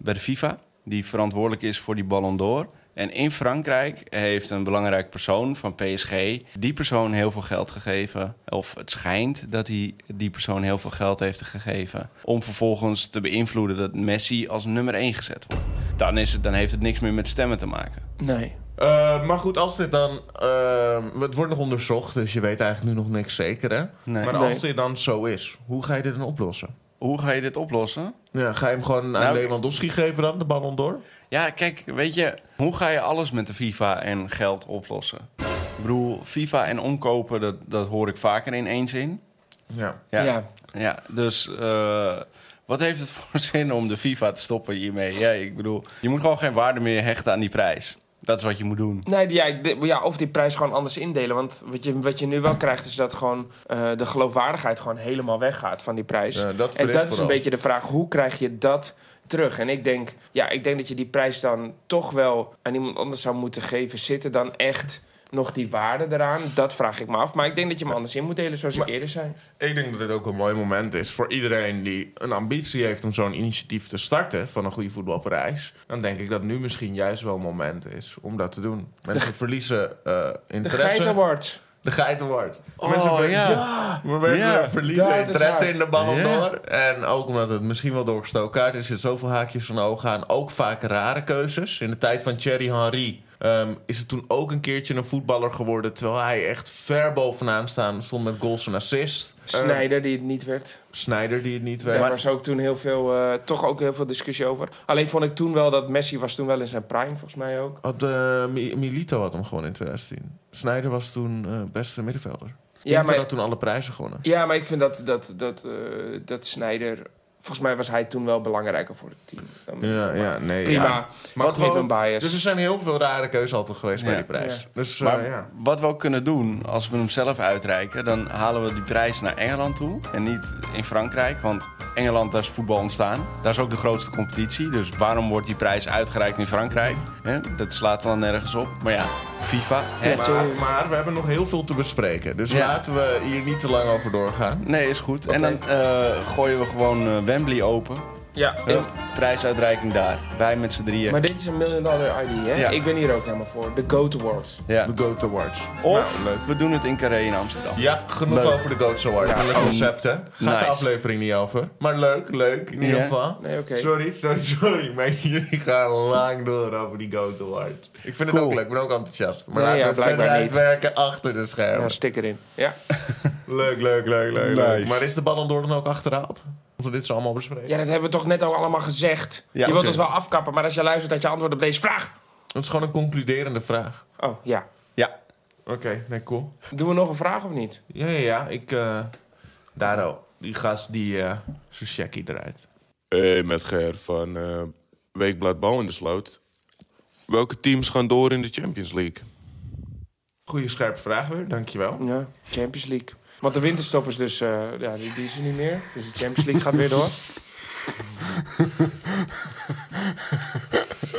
[SPEAKER 3] bij de FIFA die verantwoordelijk is voor die Ballon d'Or. En in Frankrijk heeft een belangrijk persoon van PSG die persoon heel veel geld gegeven. Of het schijnt dat hij die persoon heel veel geld heeft gegeven. Om vervolgens te beïnvloeden dat Messi als nummer 1 gezet wordt. Dan, is het, dan heeft het niks meer met stemmen te maken.
[SPEAKER 2] Nee.
[SPEAKER 1] Eh, maar goed, als dit dan. eh, het wordt nog onderzocht, dus je weet eigenlijk nu nog niks zeker, hè?
[SPEAKER 3] Nee.
[SPEAKER 1] Maar
[SPEAKER 2] Nee.
[SPEAKER 1] als dit dan zo is, hoe ga je dit dan oplossen?
[SPEAKER 3] Hoe ga je dit oplossen?
[SPEAKER 1] Ja, ga je hem gewoon aan
[SPEAKER 3] Nou,
[SPEAKER 1] Lewandowski geven dan, de Ballon d'Or?
[SPEAKER 3] Ja, kijk, weet je, hoe ga je alles met de FIFA en geld oplossen? Ik bedoel, FIFA en omkopen, dat, dat hoor ik vaker in één zin.
[SPEAKER 1] Ja.
[SPEAKER 3] Ja, ja.
[SPEAKER 2] Ja.
[SPEAKER 3] dus eh, wat heeft het *laughs* voor zin om de FIFA te stoppen hiermee? Ja, ik bedoel, je moet gewoon geen waarde meer hechten aan die prijs. Dat is wat je moet doen.
[SPEAKER 2] Nee, die- ja, ik de- ja, of die prijs gewoon anders indelen. Want wat je, wat je nu wel krijgt, is dat gewoon eh, de geloofwaardigheid gewoon helemaal weggaat van die prijs.
[SPEAKER 1] Ja, dat vind
[SPEAKER 2] en dat
[SPEAKER 1] ik
[SPEAKER 2] is een
[SPEAKER 1] vooral.
[SPEAKER 2] beetje de vraag: hoe krijg je dat terug? En ik denk, ja, ik denk dat je die prijs dan toch wel aan iemand anders zou moeten geven zitten dan echt. Nog die waarde eraan, dat vraag ik me af. Maar ik denk dat je hem anders in moet delen, zoals ik eerder zei.
[SPEAKER 1] Ik denk dat dit ook een mooi moment is voor iedereen die een ambitie heeft om zo'n initiatief te starten van een goede voetbalprijs. Dan denk ik dat nu misschien juist wel een moment is om dat te doen. Mensen verliezen eh,
[SPEAKER 2] De
[SPEAKER 1] interesse.
[SPEAKER 2] Geit Awards.
[SPEAKER 1] De Geit Award.
[SPEAKER 3] Oh,
[SPEAKER 1] ver-
[SPEAKER 3] ja.
[SPEAKER 1] Maar mensen
[SPEAKER 3] Ja.
[SPEAKER 1] verliezen
[SPEAKER 2] Dat is
[SPEAKER 1] interesse
[SPEAKER 2] hard.
[SPEAKER 1] in de Ballon
[SPEAKER 3] Ja.
[SPEAKER 1] d'Or. En ook omdat het misschien wel doorgestoken kaart is, er zitten zoveel haakjes van ogen aan. Ook vaak rare keuzes. In de tijd van Thierry Henry ehm, is het toen ook een keertje een voetballer geworden. Terwijl hij echt ver bovenaan staan stond met goals en assist. Snijder
[SPEAKER 2] Snijder, die het niet werd.
[SPEAKER 1] Snijder die het niet
[SPEAKER 2] Daar
[SPEAKER 1] weet.
[SPEAKER 2] was ook toen heel veel, eh, toch ook heel veel discussie over. Alleen vond ik toen wel dat Messi was toen wel in zijn prime, volgens mij ook.
[SPEAKER 1] Had, eh, Mi- Milito had hem gewoon in 2010. Snijder was toen eh, beste middenvelder. Ja,
[SPEAKER 2] Ja,
[SPEAKER 1] maar
[SPEAKER 2] maar-
[SPEAKER 1] had toen alle prijzen gewonnen.
[SPEAKER 2] Ja, maar ik vind dat, dat, dat, eh dat Snijder Volgens mij was hij toen wel belangrijker voor het team. Dan-
[SPEAKER 1] Ja, ja, nee.
[SPEAKER 2] Prima.
[SPEAKER 1] ja.
[SPEAKER 2] Maar
[SPEAKER 3] Wat
[SPEAKER 2] Wat gewoon
[SPEAKER 3] wel-
[SPEAKER 2] een bias.
[SPEAKER 1] Dus er zijn heel veel rare keuzes altijd geweest bij
[SPEAKER 3] Ja.
[SPEAKER 1] die prijs.
[SPEAKER 2] Ja.
[SPEAKER 1] Dus eh,
[SPEAKER 3] Maar
[SPEAKER 1] ja.
[SPEAKER 3] wat we ook kunnen doen, als we hem zelf uitreiken... dan halen we die prijs naar Engeland toe en niet in Frankrijk. Want Engeland, daar is voetbal ontstaan. Daar is ook de grootste competitie. Dus waarom wordt die prijs uitgereikt in Frankrijk? Hè, dat slaat dan nergens op. Maar ja, FIFA. hè.
[SPEAKER 1] Maar, maar we hebben nog heel veel te bespreken. Dus
[SPEAKER 3] Ja.
[SPEAKER 1] laten we hier niet te lang over doorgaan.
[SPEAKER 3] Nee, is goed. En dan eh, gooien we gewoon eh, Wembley open.
[SPEAKER 2] ja, ik-
[SPEAKER 3] Hup, prijsuitreiking daar. Wij met z'n drieën.
[SPEAKER 2] maar dit is een million dollar ID, hè?
[SPEAKER 3] Ja.
[SPEAKER 2] Ik ben hier ook helemaal voor. De Goat Awards.
[SPEAKER 3] ja.
[SPEAKER 1] De Goat Awards.
[SPEAKER 3] Of
[SPEAKER 1] Nou, leuk.
[SPEAKER 3] we doen het in Carré in Amsterdam.
[SPEAKER 1] Ja, genoeg
[SPEAKER 3] Leuk.
[SPEAKER 1] over de Goat Awards.
[SPEAKER 2] Ja,
[SPEAKER 1] en het
[SPEAKER 3] oh,
[SPEAKER 1] concept, hè? Gaat de
[SPEAKER 3] nice.
[SPEAKER 1] aflevering niet over. Maar leuk, leuk. In ieder
[SPEAKER 3] Ja.
[SPEAKER 1] geval.
[SPEAKER 2] Nee, oké.
[SPEAKER 1] Sorry, sorry, sorry. Maar jullie gaan lang door over die Goat Awards. Ik vind het
[SPEAKER 3] Cool.
[SPEAKER 1] ook leuk. Ik ben ook enthousiast. Maar
[SPEAKER 2] Nee,
[SPEAKER 1] laten
[SPEAKER 2] ja,
[SPEAKER 1] we het verder
[SPEAKER 2] blijkbaar niet.
[SPEAKER 1] uitwerken achter de schermen.
[SPEAKER 2] Ja, stik erin. Ja.
[SPEAKER 1] Leuk, leuk, leuk, leuk.
[SPEAKER 3] Nice.
[SPEAKER 1] leuk. Maar is de Ballon d'Or dan ook achterhaald? Omdat we dit zo allemaal bespreken.
[SPEAKER 2] ja, dat hebben we toch net ook allemaal gezegd.
[SPEAKER 3] Ja,
[SPEAKER 2] je wilt
[SPEAKER 3] oké.
[SPEAKER 2] ons wel afkappen, maar als je luistert dat je antwoord op deze vraag.
[SPEAKER 1] Dat is gewoon een concluderende vraag.
[SPEAKER 2] Oh, ja.
[SPEAKER 3] Ja.
[SPEAKER 1] Oké, nee, cool.
[SPEAKER 2] Doen we nog een vraag of niet?
[SPEAKER 1] Ja, ja, ja. Ik, eh Daro, die gast die eh zijn checkie eruit.
[SPEAKER 5] Hey, met Ger van eh, Weekblad Bal in de Sloot. Welke teams gaan door in de Champions League?
[SPEAKER 1] Goeie scherpe vraag weer, dankjewel.
[SPEAKER 2] Ja, Champions League. Want de winterstop is dus, eh, ja, die, die is er niet meer. Dus de Champions League gaat weer door.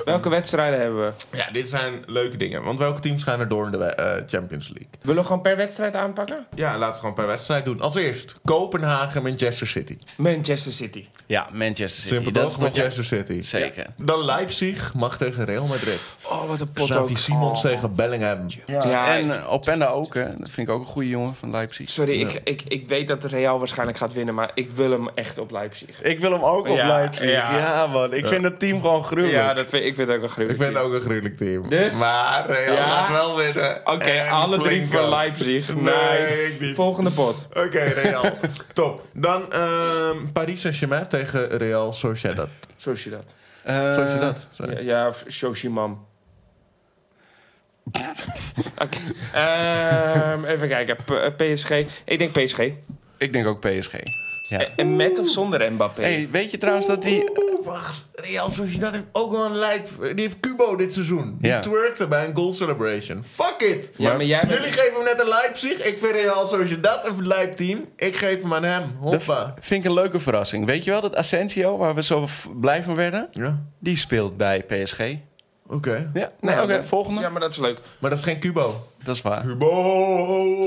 [SPEAKER 2] Welke wedstrijden hebben we?
[SPEAKER 1] Ja, dit zijn leuke dingen. Want welke teams gaan er door in de we- eh, Champions League?
[SPEAKER 2] Willen we gewoon per wedstrijd aanpakken?
[SPEAKER 1] Ja, laten we gewoon per wedstrijd doen. Als eerst, Kopenhagen, Manchester City.
[SPEAKER 2] Manchester City.
[SPEAKER 3] Ja, Manchester City. dat is
[SPEAKER 1] Simpelweg
[SPEAKER 3] toch
[SPEAKER 1] Manchester City.
[SPEAKER 3] zeker.
[SPEAKER 1] Dan Leipzig mag tegen Real Madrid.
[SPEAKER 2] Oh, wat een pot ook.
[SPEAKER 1] Xavi Simons tegen Bellingham.
[SPEAKER 2] Ja,
[SPEAKER 3] En eh, Openda ook, hè? Dat vind ik ook een goede jongen van Leipzig.
[SPEAKER 2] sorry, ik, ik, ik weet dat Real waarschijnlijk gaat winnen, maar ik wil hem echt op Leipzig.
[SPEAKER 3] Ik wil hem ook op
[SPEAKER 2] Ja,
[SPEAKER 3] Leipzig. Ja.
[SPEAKER 2] ja.
[SPEAKER 3] man. Ik vind dat team gewoon gruwelijk.
[SPEAKER 2] Ja, dat vind, ik vind het ook een
[SPEAKER 1] Ik
[SPEAKER 2] gruwelijk.
[SPEAKER 1] vind het ook een gruwelijk team.
[SPEAKER 2] Dus?
[SPEAKER 1] Maar Real
[SPEAKER 2] Ja?
[SPEAKER 1] gaat wel winnen.
[SPEAKER 2] Oké,
[SPEAKER 1] En
[SPEAKER 2] alle drie
[SPEAKER 1] flink
[SPEAKER 2] voor
[SPEAKER 1] ook.
[SPEAKER 2] Leipzig.
[SPEAKER 1] Nee,
[SPEAKER 2] Nice.
[SPEAKER 1] ik niet.
[SPEAKER 2] Volgende pot.
[SPEAKER 1] Oké, Real. *laughs* Top. Dan ehm, Paris Saint-Germain tegen Real Sociedad.
[SPEAKER 2] Zoals je dat.
[SPEAKER 3] Eh,
[SPEAKER 1] Sociedad, sorry.
[SPEAKER 2] Ja, ja of
[SPEAKER 3] *laughs*
[SPEAKER 2] Shoshimam. Oké. Ehm, even kijken. P- eh, PSG. Ik denk PSG.
[SPEAKER 3] Ik denk ook PSG. Ja.
[SPEAKER 2] En- Eh, En met of zonder Mbappé?
[SPEAKER 3] hey, weet je trouwens dat die...
[SPEAKER 1] Oeh, wacht. Real Sociedad heeft ook wel een lijp. Die heeft Cubo dit seizoen. Die
[SPEAKER 3] Ja.
[SPEAKER 1] twerkte bij een goal celebration. Fuck it.
[SPEAKER 2] Ja, maar jij bent-
[SPEAKER 1] Jullie geven hem net een Leipzig. Ik vind Real Sociedad een lijpteam. Ik geef hem aan hem.
[SPEAKER 3] Dat
[SPEAKER 1] Hoppa.
[SPEAKER 3] vind ik een leuke verrassing. Weet je wel dat Asensio, waar we zo f- blij van werden...
[SPEAKER 1] Ja,
[SPEAKER 3] die speelt bij PSG. Ja,
[SPEAKER 1] oké.
[SPEAKER 3] nee,
[SPEAKER 2] Nou,
[SPEAKER 3] oké,
[SPEAKER 2] dat-
[SPEAKER 3] volgende.
[SPEAKER 2] Ja, maar dat is leuk.
[SPEAKER 1] Maar dat is geen Cubo.
[SPEAKER 3] Dat is waar.
[SPEAKER 1] Cubo!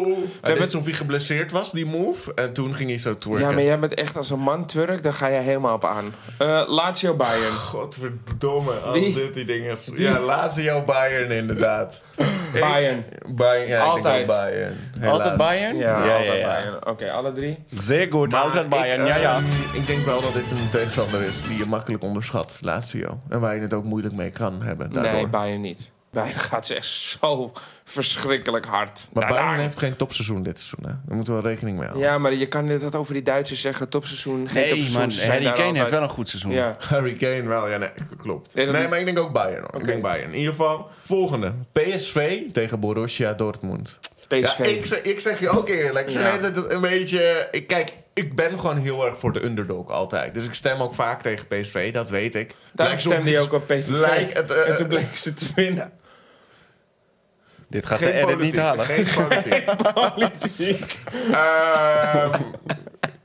[SPEAKER 1] Hij
[SPEAKER 2] hebben-
[SPEAKER 1] deed alsof hij geblesseerd was, die move. En toen ging hij zo twerken.
[SPEAKER 2] Ja, maar jij bent echt als een man Turk, daar ga je helemaal op aan. Eh, Lazio Bayern.
[SPEAKER 1] Godverdomme, al
[SPEAKER 2] Wie?
[SPEAKER 1] dit die dingen. Ja, Lazio Bayern inderdaad. Ik-
[SPEAKER 2] Bayern.
[SPEAKER 1] Bayern, ja,
[SPEAKER 2] Altijd.
[SPEAKER 1] Ik denk ook Bayern. Helaas.
[SPEAKER 3] Altijd Bayern?
[SPEAKER 2] Ja,
[SPEAKER 3] ja,
[SPEAKER 2] altijd
[SPEAKER 3] ja.
[SPEAKER 2] Bayern. Oké, alle drie.
[SPEAKER 3] Zeer goed,
[SPEAKER 1] Maar
[SPEAKER 3] altijd Bayern.
[SPEAKER 1] ik,
[SPEAKER 3] ja, ja.
[SPEAKER 1] ehm, ik denk wel dat dit een tegenstander is die je makkelijk onderschat, Lazio. En waar je het ook moeilijk mee kan hebben daardoor.
[SPEAKER 2] Nee, Bayern niet. Bayern gaat ze echt zo verschrikkelijk hard.
[SPEAKER 1] maar
[SPEAKER 2] Daar-
[SPEAKER 1] Bayern heeft geen topseizoen dit seizoen. Hè? Daar moeten we wel rekening mee houden.
[SPEAKER 2] Ja, maar je kan net dat over die Duitsers zeggen. Topseizoen, geen
[SPEAKER 3] Nee,
[SPEAKER 2] topseizoen.
[SPEAKER 3] maar
[SPEAKER 2] ze zijn
[SPEAKER 3] Harry
[SPEAKER 2] daar
[SPEAKER 3] Kane heeft
[SPEAKER 2] altijd.
[SPEAKER 3] wel een goed seizoen.
[SPEAKER 2] Ja.
[SPEAKER 1] Harry Kane wel, ja, nee, klopt.
[SPEAKER 2] Nee,
[SPEAKER 1] Nee,
[SPEAKER 2] dat niet.
[SPEAKER 1] maar ik denk ook Bayern. hoor. Ik denk Bayern. In ieder geval, volgende. PSV tegen Borussia Dortmund.
[SPEAKER 2] PSV.
[SPEAKER 1] Ja, ik, zeg- ik zeg je ook eerlijk. Ze
[SPEAKER 2] Ja.
[SPEAKER 1] weten het een beetje. Ik, kijk, ik ben gewoon heel erg voor de underdog altijd. Dus ik stem ook vaak tegen PSV, dat weet ik.
[SPEAKER 2] Daarom
[SPEAKER 1] Lijkt alsof
[SPEAKER 2] stemde je
[SPEAKER 1] iets-
[SPEAKER 2] ook op PSV.
[SPEAKER 1] Lijkt het, eh,
[SPEAKER 2] en toen bleek ze te winnen.
[SPEAKER 3] Dit gaat
[SPEAKER 1] Geen
[SPEAKER 3] de edit
[SPEAKER 1] politiek,
[SPEAKER 3] niet halen.
[SPEAKER 1] Geen
[SPEAKER 3] *laughs*
[SPEAKER 1] politiek. Ehm,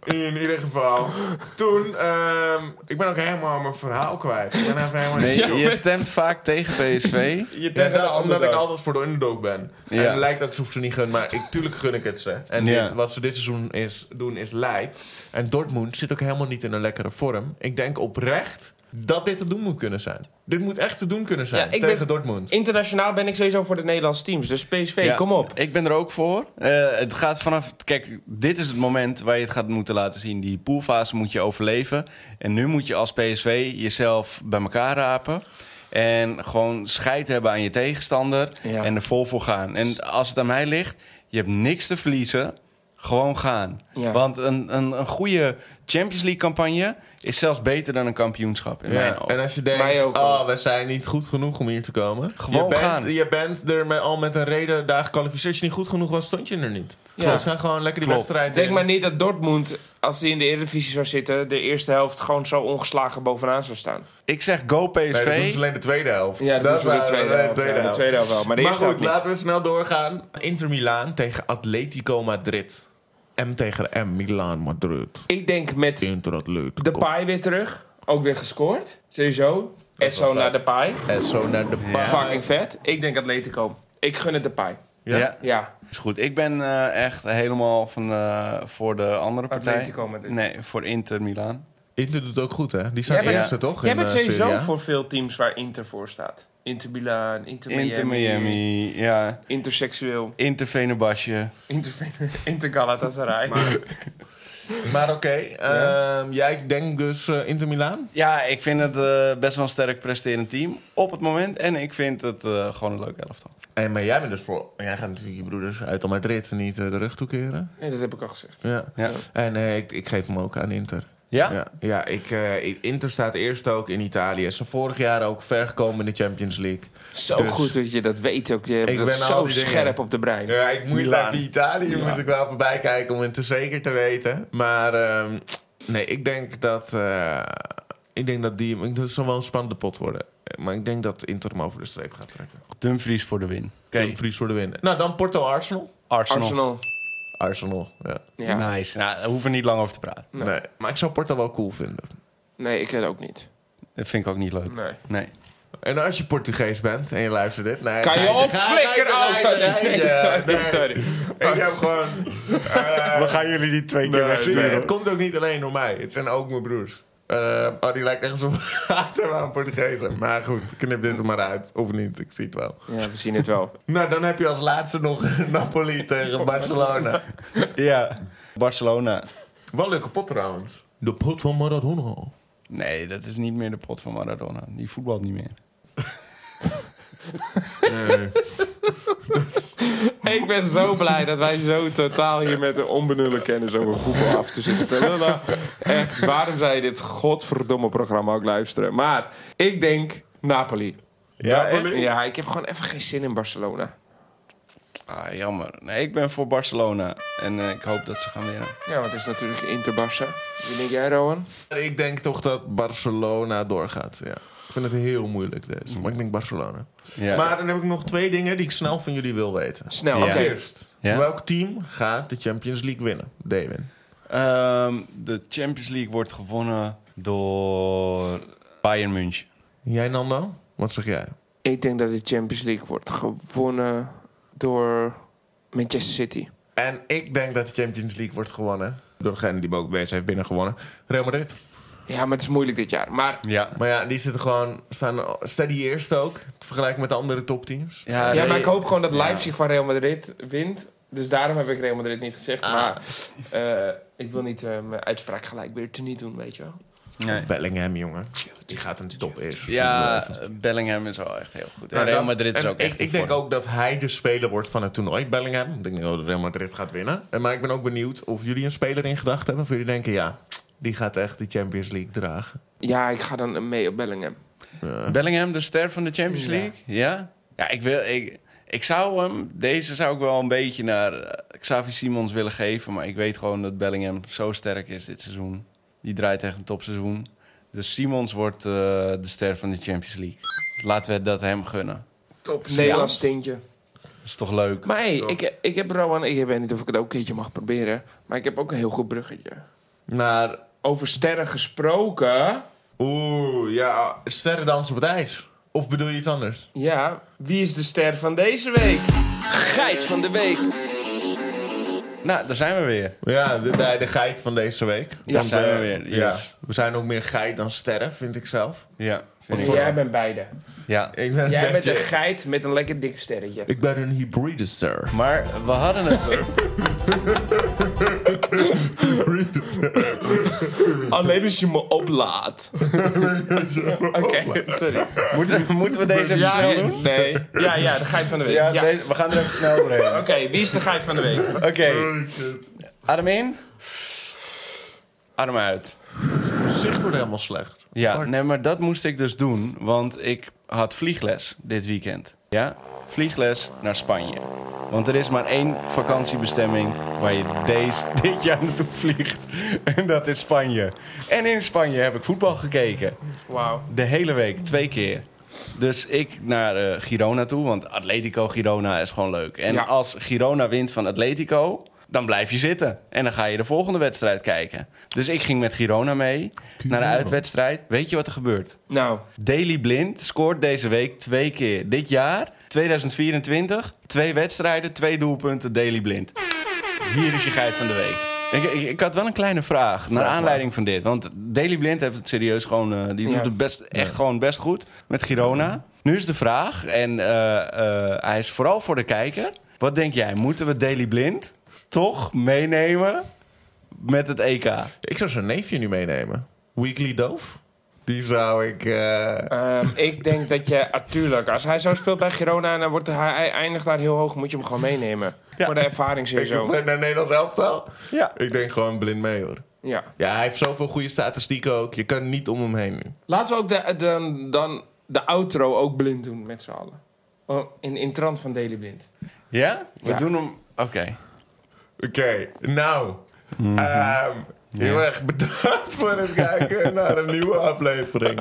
[SPEAKER 1] in ieder geval. Toen, ehm, ik ben ook helemaal mijn verhaal kwijt. Ik ben even helemaal
[SPEAKER 2] *laughs*
[SPEAKER 3] Nee, je stemt vaak tegen PSV.
[SPEAKER 1] Je
[SPEAKER 2] tegen de
[SPEAKER 1] omdat
[SPEAKER 2] underdog.
[SPEAKER 1] ik altijd voor de underdog ben.
[SPEAKER 3] Ja.
[SPEAKER 1] En het lijkt dat ik ze niet gun, maar ik, tuurlijk gun ik het ze. En
[SPEAKER 3] Ja.
[SPEAKER 1] dit- wat ze dit seizoen is, doen is lijp. En Dortmund zit ook helemaal niet in een lekkere vorm. Ik denk oprecht dat dit te doen moet kunnen zijn. Dit moet echt te doen kunnen zijn
[SPEAKER 2] Ja, ik
[SPEAKER 1] tegen
[SPEAKER 2] ben-
[SPEAKER 1] Dortmund.
[SPEAKER 2] Internationaal ben ik sowieso voor de Nederlandse teams. Dus PSV,
[SPEAKER 3] Ja,
[SPEAKER 2] kom op.
[SPEAKER 3] Ik ben er ook voor. Eh, het gaat vanaf. Kijk, dit is het moment waar je het gaat moeten laten zien. Die poolfase moet je overleven. En nu moet je als PSV jezelf bij elkaar rapen. En gewoon scheid hebben aan je tegenstander.
[SPEAKER 2] Ja.
[SPEAKER 3] En er vol voor gaan. En als het aan mij ligt, je hebt niks te verliezen. Gewoon gaan.
[SPEAKER 2] Ja.
[SPEAKER 3] Want een, een, een goede Champions League campagne is zelfs beter dan een kampioenschap in mijn
[SPEAKER 1] Ja,
[SPEAKER 3] ogen.
[SPEAKER 1] en als je denkt,
[SPEAKER 2] Mij ook al.
[SPEAKER 1] oh, we zijn niet goed genoeg om hier te komen.
[SPEAKER 3] Gewoon
[SPEAKER 1] je bent,
[SPEAKER 3] gaan.
[SPEAKER 1] Je bent er met, al met een reden daar gekwalificeerd. Als je niet goed genoeg was, stond je er niet.
[SPEAKER 2] Ja.
[SPEAKER 1] Ja. Dus ga gewoon lekker die
[SPEAKER 3] Klopt.
[SPEAKER 1] wedstrijd
[SPEAKER 2] Denk
[SPEAKER 1] in.
[SPEAKER 2] maar niet dat Dortmund, als die in de Eredivisie zou zitten... de eerste helft gewoon zo ongeslagen bovenaan zou staan.
[SPEAKER 3] Ik zeg go
[SPEAKER 1] Nee, dat doen
[SPEAKER 3] PSV.
[SPEAKER 1] ze alleen de tweede helft.
[SPEAKER 2] Ja, dat, is wel de
[SPEAKER 1] waren-
[SPEAKER 2] tweede
[SPEAKER 1] dat
[SPEAKER 2] helft.
[SPEAKER 1] waren
[SPEAKER 2] Ja, de tweede helft wel. Maar de
[SPEAKER 1] Maar
[SPEAKER 2] eerste
[SPEAKER 1] goed,
[SPEAKER 2] helft niet.
[SPEAKER 1] laten we snel doorgaan. Inter Milaan tegen Atletico Madrid. M tegen M, Milaan Madrid.
[SPEAKER 2] Ik denk met
[SPEAKER 1] Inter Atletico.
[SPEAKER 2] de paai weer terug. Ook weer gescoord. Sowieso. Esso
[SPEAKER 1] wel
[SPEAKER 2] naar de paai.
[SPEAKER 1] En zo naar de paai.
[SPEAKER 2] Fucking vet. Ik denk Atletico. Ik gun het de paai.
[SPEAKER 1] Ja.
[SPEAKER 3] Ja,
[SPEAKER 2] Ja.
[SPEAKER 3] is goed. Ik ben eh, echt helemaal van, eh, voor de andere partij.
[SPEAKER 2] Atletico Madrid.
[SPEAKER 3] Nee, voor Inter Milan.
[SPEAKER 1] Inter doet ook goed, hè? Die zijn
[SPEAKER 2] Jij bent-
[SPEAKER 1] eerste, toch?
[SPEAKER 2] Jij
[SPEAKER 1] in,
[SPEAKER 2] bent
[SPEAKER 1] eh,
[SPEAKER 2] sowieso
[SPEAKER 1] Serie A?
[SPEAKER 2] voor veel teams waar Inter voor staat. Inter Milaan, Inter Miami.
[SPEAKER 3] Inter Miami, ja.
[SPEAKER 2] Interseksueel.
[SPEAKER 3] Inter Venebasje.
[SPEAKER 2] Inter, Inter *laughs* Galatasaray.
[SPEAKER 1] Maar oké, ehm, jij denkt dus eh, Inter Milaan?
[SPEAKER 3] Ja, ik vind het eh, best wel een sterk presterend team op het moment. En ik vind het eh, gewoon een leuke elftal.
[SPEAKER 1] En, maar jij bent dus voor... Jij gaat natuurlijk je broeders uit Madrid niet eh, de rug toekeren.
[SPEAKER 2] nee, dat heb ik al gezegd.
[SPEAKER 1] Ja.
[SPEAKER 3] Ja?
[SPEAKER 1] En eh, ik, ik geef hem ook aan Inter.
[SPEAKER 3] Ja?
[SPEAKER 1] Ja, ja, ik, eh, ik- Inter staat eerst ook in Italië. Ze zijn vorig jaar ook ver gekomen in de Champions League.
[SPEAKER 2] Zo
[SPEAKER 1] Dus-
[SPEAKER 2] goed dat je dat weet ook. Je hebt
[SPEAKER 1] Ik
[SPEAKER 2] dat
[SPEAKER 1] ben al
[SPEAKER 2] zo
[SPEAKER 1] die dingen.
[SPEAKER 2] scherp op de brein.
[SPEAKER 1] Ja, ik moest
[SPEAKER 3] Milaan.
[SPEAKER 1] even Italië moest ik wel voorbij kijken om het te zeker te weten. Maar ehm, nee, ik denk dat eh, ik denk dat die ik, dat zal wel een spannende pot worden. Maar ik denk dat Inter hem over de streep gaat trekken.
[SPEAKER 3] Dumfries voor de win. Oké,
[SPEAKER 1] Een Vries voor de winnen. Nou, dan Porto Arsenal.
[SPEAKER 3] Arsenal.
[SPEAKER 2] Arsenal.
[SPEAKER 1] Arsenal, ja.
[SPEAKER 2] Ja.
[SPEAKER 3] Nice. Nou, daar hoeven we niet lang over te praten.
[SPEAKER 2] Nee.
[SPEAKER 1] Nee, maar ik zou Porto wel cool vinden.
[SPEAKER 2] Nee, ik ken het ook niet.
[SPEAKER 3] Dat vind ik ook niet leuk.
[SPEAKER 2] Nee.
[SPEAKER 3] Nee.
[SPEAKER 1] En als je Portugees bent en je luistert dit... Nee,
[SPEAKER 2] Kan je
[SPEAKER 1] geintje,
[SPEAKER 2] opflikkeren,
[SPEAKER 1] geintje,
[SPEAKER 2] auto?
[SPEAKER 1] geintje,
[SPEAKER 2] Nee, *laughs* sorry,
[SPEAKER 1] nee.
[SPEAKER 2] sorry.
[SPEAKER 1] Ik heb gewoon... eh,
[SPEAKER 3] We gaan jullie niet twee
[SPEAKER 1] Nee, nee, het komt ook niet alleen door mij. Het zijn ook mijn broers. Eh, oh, die lijkt echt zo *laughs* haat hebben aan Portugezen. Maar goed, knip dit er maar uit. Of niet, ik zie het wel.
[SPEAKER 2] Ja, we zien het wel.
[SPEAKER 1] Nou, dan heb je als laatste nog *laughs* Napoli tegen Barcelona.
[SPEAKER 3] Ja. Barcelona.
[SPEAKER 1] Wel leuke pot trouwens. De pot van Maradona.
[SPEAKER 3] Nee, dat is niet meer de pot van Maradona. Die voetbalt niet meer.
[SPEAKER 2] Ik ben zo blij dat wij zo totaal hier met de onbenullen kennis over voetbal af te zitten te lullen. Echt, waarom zou je dit godverdomme programma ook luisteren? Maar ik denk Napoli.
[SPEAKER 3] Ja,
[SPEAKER 2] Ja, ik heb gewoon even geen zin in Barcelona.
[SPEAKER 3] Ah, jammer. Nee, ik ben voor Barcelona. En eh, ik hoop dat ze gaan winnen.
[SPEAKER 2] Ja, want het is natuurlijk Inter-Barça. Wie denk jij, Rowan?
[SPEAKER 1] Ik denk toch dat Barcelona doorgaat, ja. Ik vind het heel moeilijk deze, maar ik denk Barcelona.
[SPEAKER 3] Ja.
[SPEAKER 1] Maar dan heb ik nog twee dingen die ik snel van jullie wil weten.
[SPEAKER 2] Snel,
[SPEAKER 3] Ja.
[SPEAKER 2] oké.
[SPEAKER 1] Eerst,
[SPEAKER 3] Ja?
[SPEAKER 1] welk team gaat de Champions League winnen? David.
[SPEAKER 3] Ehm, de Champions League wordt gewonnen door Bayern München.
[SPEAKER 1] Jij Nando? Wat zeg jij?
[SPEAKER 2] Ik denk dat de Champions League wordt gewonnen door Manchester City.
[SPEAKER 1] En ik denk dat de Champions League wordt gewonnen. Door degene die ook bezig heeft binnengewonnen. Real Madrid.
[SPEAKER 2] Ja, maar het is moeilijk dit jaar. Maar
[SPEAKER 3] Ja.
[SPEAKER 1] Maar ja, die zitten gewoon, staan steady eerst ook. Te vergelijken met de andere topteams.
[SPEAKER 3] Ja,
[SPEAKER 2] Ja,
[SPEAKER 3] nee.
[SPEAKER 2] maar ik hoop gewoon dat Leipzig van Real Madrid wint. Dus daarom heb ik Real Madrid niet gezegd.
[SPEAKER 3] Ah.
[SPEAKER 2] Maar eh, ik wil niet eh, mijn uitspraak gelijk weer teniet doen, weet je wel.
[SPEAKER 3] Nee.
[SPEAKER 1] Bellingham, jongen. Die gaat een top eerst.
[SPEAKER 3] Ja, Bellingham is wel echt heel goed. En Real Madrid is
[SPEAKER 1] En
[SPEAKER 3] ook
[SPEAKER 1] ik,
[SPEAKER 3] echt in
[SPEAKER 1] Ik denk
[SPEAKER 3] vorm.
[SPEAKER 1] ook dat hij de speler wordt van het toernooi, Bellingham. Ik denk niet dat Real Madrid gaat winnen. En Maar ik ben ook benieuwd of jullie een speler in gedachten hebben. Of jullie denken, ja, die gaat echt die Champions League dragen.
[SPEAKER 2] Ja, ik ga dan mee op Bellingham.
[SPEAKER 3] Bellingham, de ster van de Champions League? Ja. Ja, ik, wil, ik, ik zou hem... Deze zou ik wel een beetje naar eh, Xavi Simons willen geven. Maar ik weet gewoon dat Bellingham zo sterk is dit seizoen. Die draait echt een topseizoen. Dus Simons wordt eh, de ster van de Champions League. Laten we dat hem gunnen.
[SPEAKER 2] Top. Nederlands tintje.
[SPEAKER 3] Dat is toch leuk?
[SPEAKER 2] Maar hey, ik, ik heb Rowan, ik weet niet of ik het ook een keertje mag proberen. Maar ik heb ook een heel goed bruggetje.
[SPEAKER 1] Maar,
[SPEAKER 2] Over sterren gesproken.
[SPEAKER 1] oeh, ja, sterren dansen op het ijs. Of bedoel je iets anders?
[SPEAKER 2] Ja, wie is de ster van deze week? Geit van de week.
[SPEAKER 3] Nou, daar zijn we weer.
[SPEAKER 1] Ja, de, bij de geit van deze week.
[SPEAKER 3] Daar zijn we
[SPEAKER 1] eh,
[SPEAKER 3] weer. Yes.
[SPEAKER 1] Ja, we zijn ook meer geit dan sterren, vind ik zelf.
[SPEAKER 3] Ja, vind
[SPEAKER 2] En
[SPEAKER 3] ik
[SPEAKER 2] jij
[SPEAKER 3] wel.
[SPEAKER 2] bent beide.
[SPEAKER 3] ja.
[SPEAKER 1] Ik ben
[SPEAKER 2] Jij
[SPEAKER 1] een
[SPEAKER 2] bent
[SPEAKER 1] beetje-
[SPEAKER 2] een geit met een lekker dik sterretje.
[SPEAKER 1] Ik ben een hybride *laughs* ster.
[SPEAKER 3] Maar we hadden het...
[SPEAKER 2] Alleen als je me
[SPEAKER 1] *laughs*
[SPEAKER 2] oplaat. Oké, sorry.
[SPEAKER 3] moeten, moeten we deze even
[SPEAKER 2] ja,
[SPEAKER 3] snel
[SPEAKER 2] ja,
[SPEAKER 3] doen?
[SPEAKER 2] Nee. Ja, ja, de geit van de week.
[SPEAKER 3] Ja,
[SPEAKER 2] Ja,
[SPEAKER 3] deze- we gaan er even snel doorheen.
[SPEAKER 2] Oké, wie is de geit van de week?
[SPEAKER 3] Oké. Adem in. Arm uit.
[SPEAKER 1] Zicht wordt helemaal slecht.
[SPEAKER 3] Ja, nee, maar dat moest ik dus doen, want ik had vliegles dit weekend. Ja, vliegles naar Spanje. Want er is maar één vakantiebestemming waar je deze, dit jaar naartoe vliegt. *laughs* En dat is Spanje. En in Spanje heb ik voetbal gekeken.
[SPEAKER 2] Wauw.
[SPEAKER 3] De hele week, twee keer. Dus ik naar eh, Girona toe, want Atletico Girona is gewoon leuk. En
[SPEAKER 2] Ja.
[SPEAKER 3] als Girona wint van Atletico, dan blijf je zitten. En dan ga je de volgende wedstrijd kijken. Dus ik ging met Girona mee naar de uitwedstrijd. Weet je wat er gebeurt?
[SPEAKER 2] Nou,
[SPEAKER 3] Daily Blind scoort deze week twee keer. Dit jaar, 2024, twee wedstrijden, twee doelpunten, Daily Blind. Hier is je geit van de week. Ik, ik, ik had wel een kleine vraag naar aanleiding van dit. Want Daily Blind heeft het serieus gewoon... eh, die
[SPEAKER 2] Ja.
[SPEAKER 3] doet het best, echt gewoon best goed met Girona. Nu is de vraag, en eh, eh, hij is vooral voor de kijker. Wat denk jij, moeten we Daily Blind toch meenemen met het EK?
[SPEAKER 1] Ik zou zijn neefje nu meenemen. Weekly Doof. Die zou ik... eh,
[SPEAKER 2] ehm, ik denk dat je... Natuurlijk, als hij zo speelt bij Girona en dan wordt hij, hij eindigt daar heel hoog... moet je hem gewoon meenemen. Voor de ervaring
[SPEAKER 1] ik
[SPEAKER 2] sowieso.
[SPEAKER 1] naar Nederlands elftal.
[SPEAKER 3] Ja.
[SPEAKER 1] Ik denk gewoon blind mee, hoor.
[SPEAKER 2] Ja.
[SPEAKER 1] Ja, hij heeft zoveel goede statistieken ook. Je kan niet om hem heen nu.
[SPEAKER 2] Laten we ook de, de, dan de outro ook blind doen met z'n allen. Oh, In, in trant van Daily Blind.
[SPEAKER 3] Ja? We
[SPEAKER 2] Ja.
[SPEAKER 3] doen hem... Oké.
[SPEAKER 1] Oké, nou.
[SPEAKER 3] Mhm.
[SPEAKER 1] ehm, heel erg bedankt voor het
[SPEAKER 3] *laughs*
[SPEAKER 1] kijken naar een nieuwe aflevering.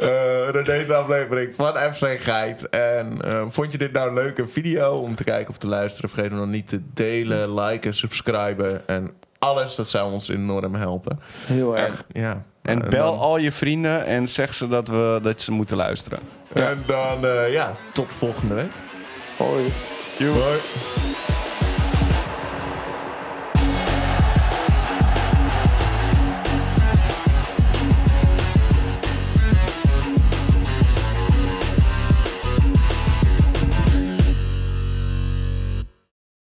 [SPEAKER 1] Eh, naar deze aflevering van FC Geit. En eh, vond je dit nou een leuke video om te kijken of te luisteren? Vergeet hem dan niet te delen, liken, subscriben en alles. Dat zou ons enorm helpen.
[SPEAKER 2] Heel erg.
[SPEAKER 1] En, ja.
[SPEAKER 3] En
[SPEAKER 1] Eh,
[SPEAKER 3] bel
[SPEAKER 1] dan-
[SPEAKER 3] al je vrienden en zeg ze dat, we, dat ze moeten luisteren.
[SPEAKER 1] En dan, eh, ja, tot volgende week.
[SPEAKER 2] Hoi.
[SPEAKER 1] Bye.